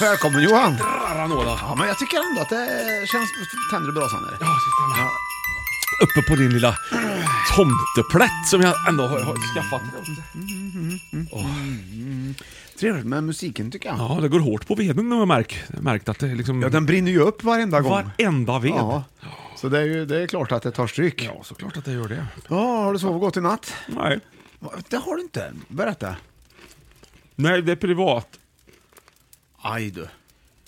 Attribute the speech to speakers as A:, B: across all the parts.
A: Välkommen Johan!
B: Ananola.
A: Ja, men jag tycker ändå att det känns... Tänder du brasan eller?
B: Ja, titta här. Uppe på din lilla tomteplätt som jag ändå har, har skaffat.
A: Trevligt med musiken tycker jag.
B: Ja, det går hårt på veden har jag märkt. Jag har märkt att det liksom...
A: Ja, den brinner ju upp varenda gång.
B: Varenda ved.
A: Ja. Så det är ju det är klart att det tar stryk. Ja,
B: Ja, såklart att det gör det.
A: har du sovit gott i natt?
B: Nej.
A: Det har du inte. Berätta.
B: Nej, det är privat.
A: Aj du.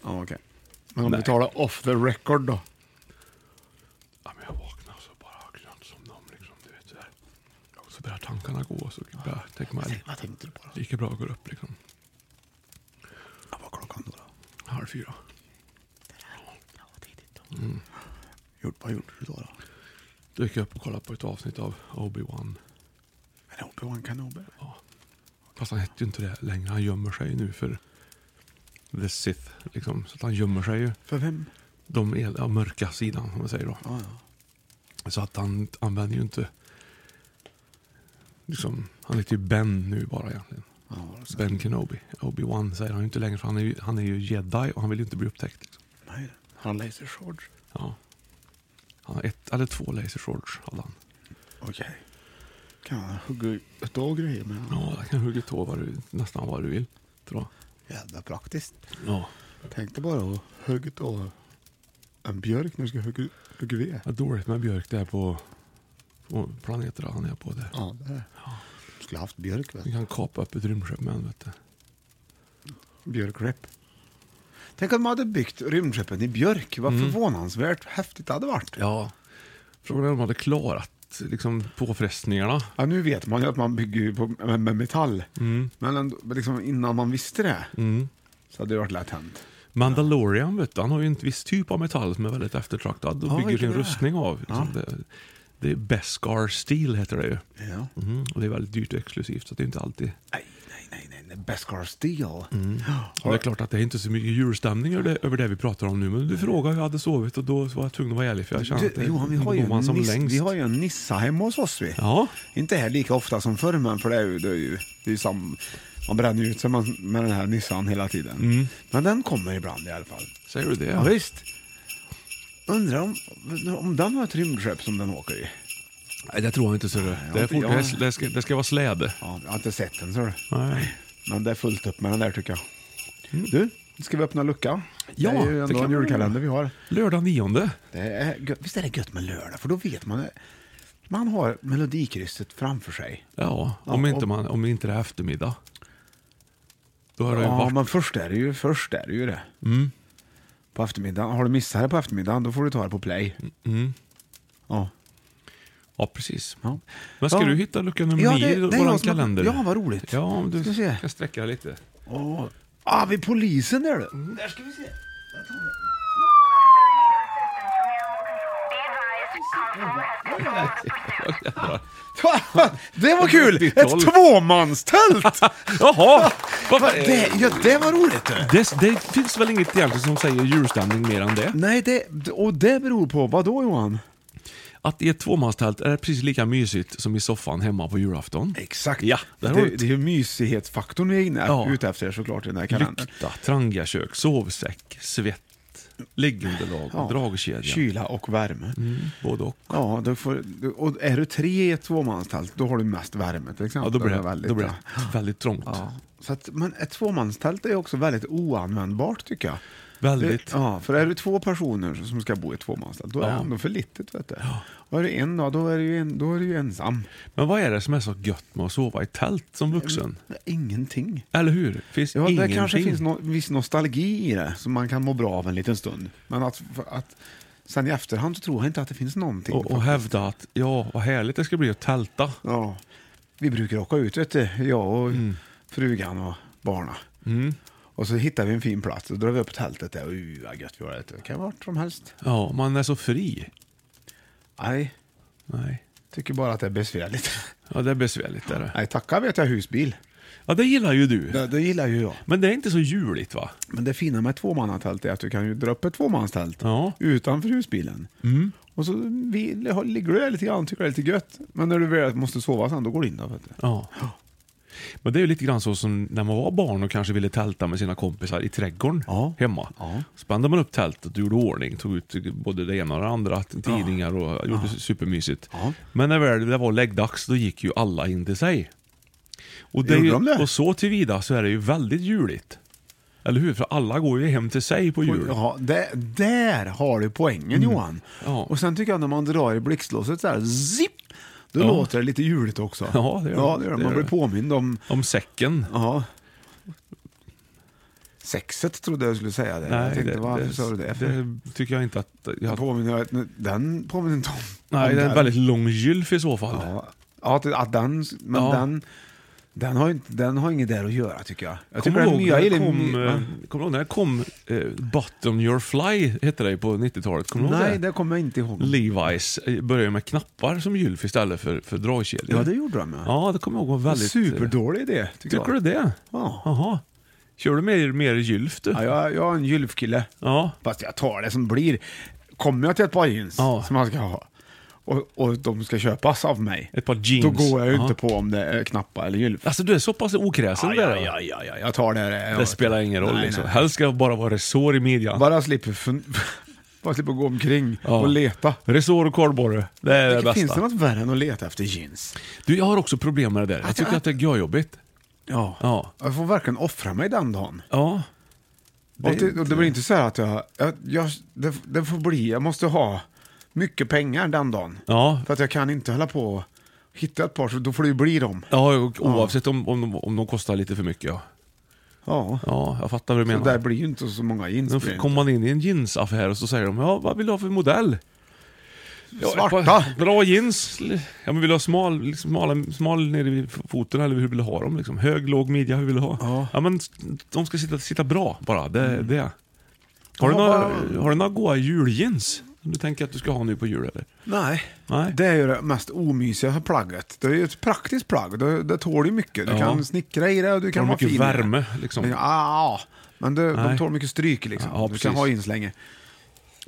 A: Ja, okej. Men om du talar off the record då?
B: Ja, men jag vaknade och så bara glömt somna om liksom, du vet sådär. Och så börjar tankarna gå och så börjar jag tänka mig,
A: Vad tänkte du på då?
B: lika bra att gå upp liksom.
A: Ja, vad klockan då? då?
B: Halv fyra.
A: Ja, tidigt då. Mm. Gjort, vad gjorde du då? då?
B: Då gick jag upp och kollade på ett avsnitt av Obi-Wan.
A: En Obi-Wan Kenobi?
B: Fast han hette ju inte det längre. Han gömmer sig nu för The Sith. Liksom. Så att han gömmer sig ju.
A: För vem?
B: De el- ja, mörka sidan, om man säger då.
A: Ja, ja.
B: Så att han använder ju inte... Liksom, han heter ju Ben nu bara egentligen.
A: ja det är så.
B: Ben Kenobi. Obi-Wan säger han ju inte längre för han är ju, han är ju jedi och han vill ju inte bli upptäckt. Liksom.
A: Nej, han laser shorts.
B: Ja. Han har ett eller två laser swords hade han.
A: Okej. Kan han hugga ett av grejer med honom?
B: Ja, där kan du hugga tå vad du, nästan vad du vill. Tror jag.
A: Jävla praktiskt.
B: Ja.
A: Tänk dig bara att hugga ett av en björk när du ska hugga, hugga ved.
B: Vad dåligt med Björk där på, på planeter han är på där.
A: Ja, det är Du skulle haft björk.
B: Vi
A: Vet.
B: kan kapa upp ett rymdskepp med en, vet du.
A: Björkrepp. Tänk om man hade byggt rymdskeppen i björk. Vad förvånansvärt häftigt det hade varit.
B: Mm. Ja. Frågan är om de hade klarat liksom, påfrestningarna.
A: Ja, nu vet man ju att man bygger ju på, med, med metall.
B: Mm.
A: Men ändå, liksom innan man visste det så hade det varit lätt hänt.
B: Mandalorian vet du, han har ju en viss typ av metall som är väldigt eftertraktad och
A: Ja,
B: bygger
A: vilken
B: sin
A: det är.
B: rustning av. Liksom. Det, det är Beskar Steel heter det ju.
A: Ja.
B: Mm. Och det är väldigt dyrt och exklusivt så det är inte alltid...
A: Nej, nej, nej, nej, nej. Beskar Steel.
B: Mm. Och det är klart att det är inte så mycket julstämning över det, över det vi pratar om nu men du frågade hur jag hade sovit och då var jag tvungen att vara ärlig för jag kände att
A: Du,
B: det
A: Johan, vi har, ju
B: går man
A: en
B: som
A: nis,
B: längst.
A: vi har ju en nissa hemma hos oss. Vi.
B: Ja.
A: Inte här lika ofta som förr, men för det är ju, det är ju, det är ju sam, man bränner ju ut sig med med den här nissan hela tiden.
B: Mm.
A: Men den kommer ibland i alla fall.
B: Säger du det?
A: Ja, visst. Undrar om, om den har ett rymdskepp som den åker i.
B: Nej, det tror jag inte. Så det.
A: jag
B: Det, är
A: inte-
B: fort,
A: jag-
B: det, är- det, ska, det ska vara släde.
A: Ja, jag har inte sett den, så du.
B: Nej.
A: Men det är fullt upp med den där tycker jag. Du, ska vi öppna luckan?
B: Mm. Ja,
A: det är ju
B: det
A: ändå
B: kan
A: en
B: vi
A: julkalender vi har.
B: Lördag 9.
A: Det är, gött- visst är det gött med lördag? För då vet man man har melodikrysset framför sig.
B: Ja,
A: Ja,
B: om,
A: och-
B: inte man, om inte det är eftermiddag. Då har det ju
A: Ja,
B: varit...
A: men först är det ju, först är det, ju det. På eftermiddagen. Har du missat det på eftermiddagen, då får du ta det på play. mm. Ja.
B: Ja, precis.
A: Ja.
B: Men ska
A: Ja.
B: du hitta lucka nummer
A: Ja,
B: 9
A: det-
B: i
A: det är jag
B: våran
A: som har-
B: kalender?
A: Ja, vad roligt.
B: Ja, om du
A: Ska
B: ska,
A: vi se.
B: sträcka dig lite.
A: Åh, Ah, vid polisen där du. Mm, Där ska vi se. Det var kul! Ett tvåmanstält!
B: Jaha! Vad
A: Ah, Det, ja, det var roligt du.
B: Det, det finns väl inget egentligen som säger julstämning mer än det?
A: Nej, det, och det beror på vad då Johan?
B: Att i ett tvåmanstält är det precis lika mysigt som i soffan hemma på julafton.
A: Exakt.
B: Ja,
A: det,
B: det har
A: det,
B: du.
A: är ju mysighetsfaktorn vi är inne
B: Ja.
A: ute efter såklart i den här kalendern.
B: Lykta, trangakök, sovsäck, svett, liggunderlag, dragkedja.
A: Kyla och värme.
B: Mm. Både och.
A: Ja, då får, och är du tre i ett tvåmanstält, då har du mest värme till exempel.
B: Ja, då blir
A: Det
B: det,
A: är väldigt
B: då blir
A: bra.
B: det väldigt trångt.
A: Ja. Så att, men ett tvåmanstält är också väldigt oanvändbart tycker jag.
B: Väldigt.
A: Det, ja, för är det två personer som ska bo i ett tvåmanstält, då är
B: Ja.
A: det ändå för litet. Vet du. Och är det en då, då är det ju, en, då är det ju ensam.
B: Men vad är det som är så gött med att sova i tält som vuxen?
A: Ingenting.
B: Eller hur? Finns
A: Ja,
B: ingenting.
A: det kanske finns no viss nostalgi i det, som man kan må bra av en liten stund. Men att, att sen i efterhand så tror jag inte att det finns någonting.
B: och, och
A: faktiskt.
B: hävda att ja, vad härligt det ska bli att tälta.
A: Ja. Vi brukar åka ut, vet du, jag och frugan och barna. Mm. Och så hittar vi en fin plats och drar vi upp tältet där. Oj, vad gött vi har det. Det kan vara vart som helst.
B: Ja, man är så fri.
A: Nej,
B: Nej,
A: tycker bara att det är besvärligt.
B: ja, det är besvärligt. Är det.
A: Nej, tacka vet jag husbil.
B: Ja, det gillar ju du.
A: Det, det gillar ju jag.
B: Men det är inte så juligt va?
A: Men det fina med ett tvåmannatält är att du kan ju dra upp ett tvåmanstält
B: Ja. Mm.
A: utanför husbilen. Och så vi, har- ligger du där lite grann tycker det är lite gött. Men när du väl måste sova sen, då går du in där. Vet du.
B: Ja. Men det är ju lite grann så som när man var barn och kanske ville tälta med sina kompisar i trädgården
A: Ja.
B: hemma.
A: Ja.
B: Spände man upp tältet och gjorde ordning, tog ut både det ena och det andra, tidningar och gjorde supermysigt.
A: Ja.
B: Men när väl det var läggdags, då gick ju alla in till sig. Och, det är
A: Gjorde
B: ju,
A: de det?
B: och så tillvida så är det ju väldigt juligt. Eller hur? För alla går ju hem till sig på jul. Mm.
A: Ja, där, där har du poängen Johan.
B: Ja.
A: Och sen tycker jag när man drar i blixtlåset så här, zipp, då
B: Ja.
A: låter det lite juligt också.
B: Ja, det gör
A: ja,
B: det.
A: det, gör det.
B: Det
A: Man
B: gör
A: blir
B: det.
A: påmind om
B: Om säcken.
A: ja. sexet, trodde jag skulle säga det. jag tänkte, varför sa du det? för?
B: det tycker jag inte att...
A: Den
B: Jag,
A: påminner, den påminner inte om...
B: nej,
A: om
B: det är
A: den.
B: en väldigt lång gylf i så fall.
A: Ja, ja att, att den, men
B: Ja.
A: den, den, har, ju inte- den har inget där att göra tycker jag. Jag tycker
B: Kommer
A: den
B: du ihåg
A: nya
B: när det
A: gillar...
B: kom,
A: men-
B: eh, kommer du ihåg när det kom eh, Bottom Your Fly, hette det ju på 90-talet? Kommer du ihåg
A: Nej,
B: det?
A: det kommer jag inte ihåg.
B: Levi's eh, började med knappar som gylf istället för, för dragkedjor.
A: Ja, det gjorde de ja.
B: Ja, det kommer jag ihåg var väldigt... eh,
A: Superdålig idé, tycker
B: Tycker
A: jag.
B: du det?
A: Ja.
B: Jaha. Kör du mer, mer gylf du?
A: Ja, jag, jag är en gylfkille.
B: Ja.
A: Fast jag tar det som blir. Kommer jag till ett par jeans
B: Ja.
A: som man ska ha och, och de ska köpas av mig,
B: Ett par jeans.
A: då går jag ju
B: Ja.
A: inte på om det är knappar eller gylf.
B: Alltså du är så pass okräsen
A: Ja, ja,
B: där. va?
A: ja, ja, ja, jag tar det. Det
B: Det spelar ingen roll
A: Nej,
B: liksom.
A: nej.
B: Helst ska det bara vara resår i midjan.
A: Bara slipper, fun- bara slipper gå omkring
B: Ja.
A: och leta.
B: Resår och kardborre. Det är det
A: Tycker,
B: bästa.
A: Finns det något värre än att leta efter jeans?
B: Du, jag har också problem med det där. Jag
A: Alltså,
B: tycker att det är görjobbigt.
A: Ja.
B: Ja.
A: Jag får verkligen offra mig den dagen.
B: Ja.
A: Det, och det, och det blir inte så här att jag... jag, jag det, det får bli, jag måste ha mycket pengar den dagen.
B: Ja.
A: För att jag kan inte hålla på och hitta ett par, så då får det ju bli dem.
B: Ja, och oavsett Om, om, de- om de kostar lite för mycket. Ja,
A: Ja.
B: ja jag fattar vad du
A: Så där
B: menar.
A: blir ju inte så många jeans.
B: Då
A: blir det
B: kommer man in i en jeansaffär och så säger de, ja vad vill du ha för modell? Ja, ett
A: Svarta.
B: par Bra jeans. Ja men vill du ha smal, liksom, smal, smal nere vid foten eller hur vill du ha dem? Liksom? Hög, låg, midja, hur vill du ha?
A: Ja.
B: men de ska sitta, sitta bra bara, det är det. Mm. Har du,
A: Ja,
B: några,
A: bara-
B: har du några goa juljeans? Som du tänker att du ska ha nu på jul eller?
A: Nej.
B: Nej.
A: Det är ju det mest omysiga plagget. Det är ju ett praktiskt plagg. Det, det tål ju mycket. Du
B: Ja.
A: kan snickra i det och du kan
B: Har
A: vara
B: mycket
A: fin i det.
B: värme liksom.
A: Men, ja, men det, de
B: Nej.
A: tål mycket stryk liksom.
B: Ja,
A: du
B: precis.
A: kan ha jeans länge.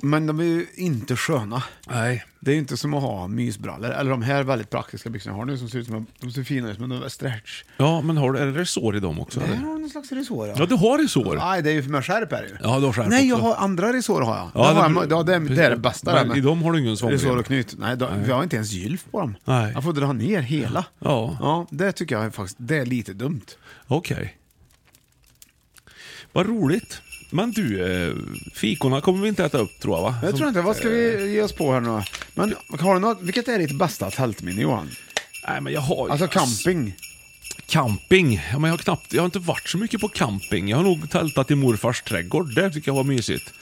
A: Men de är ju inte sköna.
B: Nej.
A: Det är ju inte som att ha mysbrallor. Eller de här väldigt praktiska byxorna jag har nu som ser ut som de ser fina ut men de är stretch.
B: Ja men har du, är det resår i dem också?
A: Det
B: eller?
A: har någon slags resår
B: Ja du har resår.
A: Nej, det är ju för mig skärp är det ju.
B: Ja, du har skärp
A: Nej, jag
B: också.
A: har andra resår har jag. Ja, det, har jag, ja, det, är, det är det bästa.
B: Men
A: där med
B: i dem har du ingen svångrem.
A: Resår och knyt. Nej, då, vi har inte ens gylf på dem.
B: Nej.
A: Jag får dra ner hela.
B: Ja.
A: ja, det tycker jag är faktiskt, det är lite dumt.
B: Okej. Vad roligt. Men du, eh, fikorna kommer vi inte äta upp tror jag va?
A: Jag tror inte, vad ska
B: eh.
A: vi ge oss på här nu Men har du något, vilket är ditt bästa tältminne Johan?
B: Nej men jag har
A: Alltså camping.
B: Camping. Ja, men jag, har knappt, jag har inte varit så mycket på camping. Jag har nog tältat i morfars trädgård. Det tycker jag var mysigt.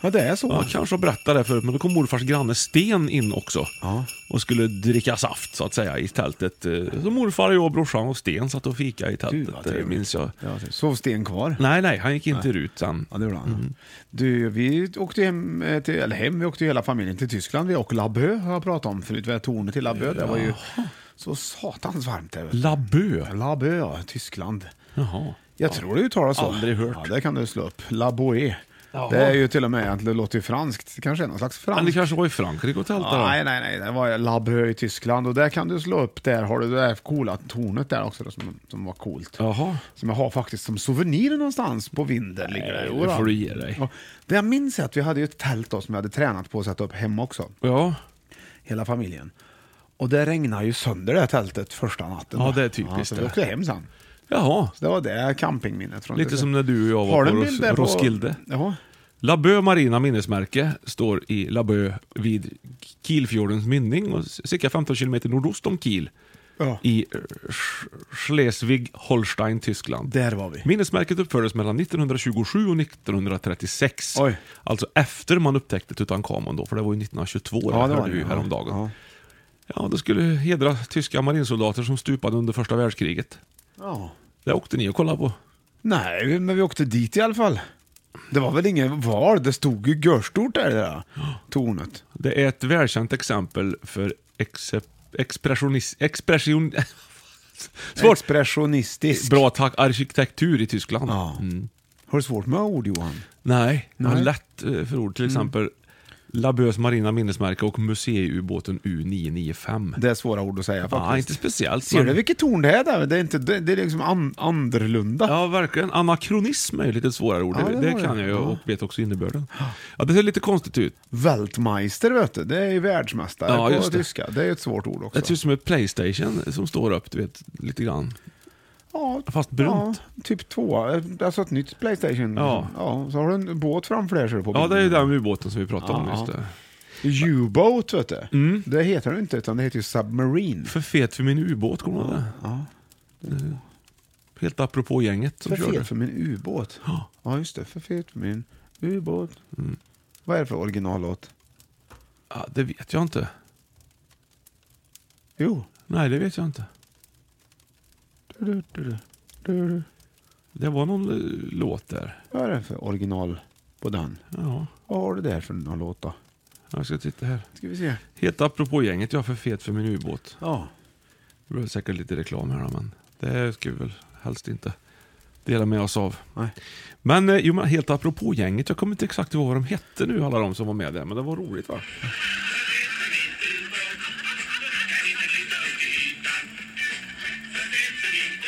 A: Ja, det är så.
B: Ja, kanske har berättat det förut, men då kom morfars granne Sten in också.
A: Ja.
B: Och skulle dricka saft så att säga i tältet. Eh, Så morfar, jag, brorsan och Sten satt och fika i
A: Gud,
B: tältet,
A: vad
B: eh,
A: trevligt.
B: minns jag.
A: Ja, det- sov Sten kvar?
B: Nej, nej, han gick inte ut sen.
A: Ja, det gjorde han.
B: Mm.
A: Du, vi åkte hem, eh, till, eller hem, vi åkte hela familjen till Tyskland. Vi åkte Labö, har jag pratat om förut. Vi har tornet till Labö. Det var ju så satans varmt där. vet du.
B: Labö.
A: Labö, ja, Tyskland.
B: Jaha.
A: Jag tror det uttalas så.
B: Aldrig hört.
A: Ja, det kan du slå upp. Laboé. Det är ju till och med egentligen, det låter ju franskt. Det kanske är någon slags
B: Men det
A: franskt.
B: kanske var i Frankrike och tältade
A: Ah,
B: då?
A: nej, nej, nej. Det var Labö i Tyskland och där kan du slå upp. Där har du det där coola tornet där också då, som, som var coolt.
B: Jaha.
A: Som jag har faktiskt som souvenir någonstans på vinden. ligger det.
B: det får du ge dig.
A: Ja. Det jag minns är att vi hade ju ett tält då, som jag hade tränat på att sätta upp hemma också.
B: Ja.
A: Hela familjen. Och det regnade ju sönder det här tältet första natten.
B: Ja, det är typiskt
A: så vi
B: det.
A: åkte hem sen.
B: Jaha.
A: Så det var det campingminnet. Från
B: Lite som när du och jag
A: Har
B: var
A: du
B: på
A: en
B: Ros-
A: bild där på-
B: Roskilde.
A: Ja.
B: Labö marina minnesmärke står i Labö vid Kielfjordens mynning och cirka 15 kilometer nordost om Kiel
A: ja.
B: i eh, Sch- Schleswig-Holstein, Tyskland.
A: Där var vi.
B: Minnesmärket uppfördes mellan 1927 och 1936.
A: Oj.
B: Alltså efter man upptäckte Tutankhamon då, för det var ju 1922, det hörde vi ju häromdagen.
A: Ja.
B: Ja, det skulle hedra tyska marinsoldater som stupade under första världskriget.
A: ja.
B: Det åkte ni och kollade på.
A: Nej, men vi åkte dit i alla fall. Det var väl ingen val, det stod ju görstort där, det där tornet.
B: Det är ett välkänt exempel för excep- expressionis... Expression... Svårt!
A: Expressionistisk.
B: Bra tack, arkitektur i Tyskland.
A: Ja.
B: Mm.
A: Har du svårt med ord Johan?
B: Nej, det var
A: Nej. Mm.
B: lätt eh, för ord. Till exempel Labös marina minnesmärke och museiubåten U995.
A: Det är svåra ord att säga faktiskt.
B: Ja, inte speciellt.
A: Ser du
B: men-
A: vilket torn det är där? Det är, inte, det, det är liksom an, annorlunda.
B: Ja, verkligen. Anakronism är ju ett lite svårare ord.
A: Ja,
B: det
A: det
B: det
A: var
B: kan
A: det.
B: jag ju
A: Ja.
B: och vet också innebörden. Ja, det ser lite konstigt ut.
A: Weltmeister vet du, det är ju världsmästare
B: Ja,
A: på
B: just det.
A: tyska. Det är ju ett svårt ord också.
B: Det ser ut som ett Playstation som står upp, du vet, lite grann.
A: ja,
B: fast brunt.
A: Ja, typ två, alltså ett nytt Playstation.
B: Ja.
A: så har du en båt framför dig ser du på
B: Ja,
A: bilden.
B: det är ju den ubåten som vi pratade om.
A: Ja,
B: Just
A: ja.
B: det.
A: U-boat vet du. Det heter den inte utan det heter ju Submarine.
B: Mm. För fet för min ubåt, kommer du ihåg det? Eh, Helt apropå gänget som
A: För
B: körde.
A: fet för min ubåt.
B: Ja. Mm.
A: Ja just det, för fet för min ubåt. Vad är det för originallåt?
B: Ja, det vet jag inte.
A: Jo.
B: Nej, det vet jag inte.
A: Du, du, du, du, du.
B: Det var någon eh, låt där.
A: Vad är det för original på den?
B: Ja,
A: Vad har du där för någon låt då?
B: jag ska titta här.
A: Ska vi se.
B: Helt apropå gänget, jag är för fet för min ubåt.
A: Ja.
B: Det blir säkert lite reklam här då, men det ska vi väl helst inte dela med oss av.
A: Nej.
B: Men, eh, jo, men helt apropå gänget, jag kommer inte exakt ihåg vad de hette nu alla de som var med där, men det var roligt va?
C: Ja,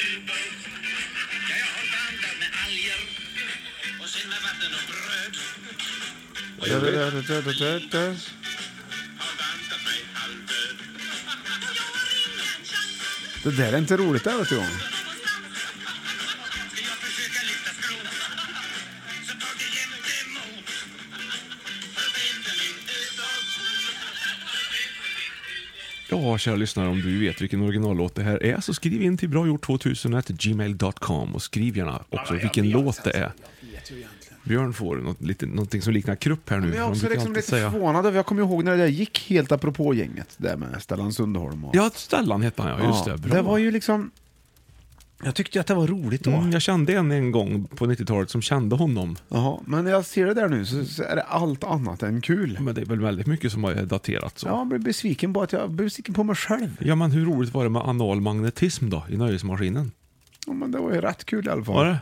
C: jag har blandat med alger och sen med vatten och bröd. Har bantat mig halvdöd.
A: Det där är inte roligt där vet du.
C: Ska jag försöka lyfta skrot så tar det jämt emot. Förbindelsen min ubåt.
B: Ja, kära lyssnare, om du vet vilken originallåt det här är så skriv in till bragjort2000gmail.com och skriv gärna också vilken
A: alltså.
B: låt det är. Björn får något, lite, någonting som liknar krupp här nu.
A: Men jag är
B: Han
A: också
B: brukar
A: liksom
B: alltid
A: lite förvånad över, jag kommer ihåg när det där gick helt apropå gänget, där med Stellan Sundholm och...
B: Ja, Stellan hette han ja, just
A: Ja,
B: det. Bra.
A: Det var ju liksom... Jag tyckte att det var roligt då.
B: Mm, jag kände en en gång på 90-talet som kände honom.
A: Jaha, men när jag ser det där nu så, så är det allt annat än kul.
B: Men det är väl väldigt mycket som har daterat så.
A: Ja, jag blir besviken på att jag blir besviken på mig själv.
B: Ja, men hur roligt var det med anal magnetism då, i nöjesmaskinen?
A: Ja, men det var ju rätt kul i alla fall.
B: Var det?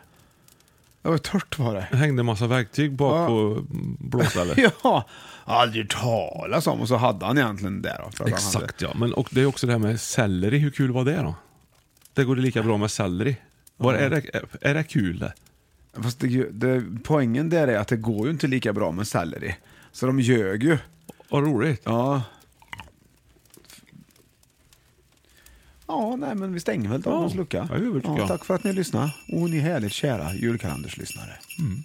A: Det var torrt var det.
B: Det hängde en massa verktyg bak
A: Ja.
B: på blåsstället.
A: Ja, aldrig talas om. Och så hade han egentligen det då. för att han hade-
B: Exakt ja, men och det är också det här med selleri, hur kul var det då? Det går det lika bra med selleri. Var är, det, är det kul det?
A: Fast det, är ju- det, poängen där är att det går ju inte lika bra med selleri. Så de ljög ju.
B: Vad roligt.
A: Ja. Ja, nej men vi stänger väl dagens
B: Ja,
A: lucka.
B: jag gör väl, tycker jag.
A: tack för att ni lyssnade. Och ni härligt kära julkalenderslyssnare.
D: Mom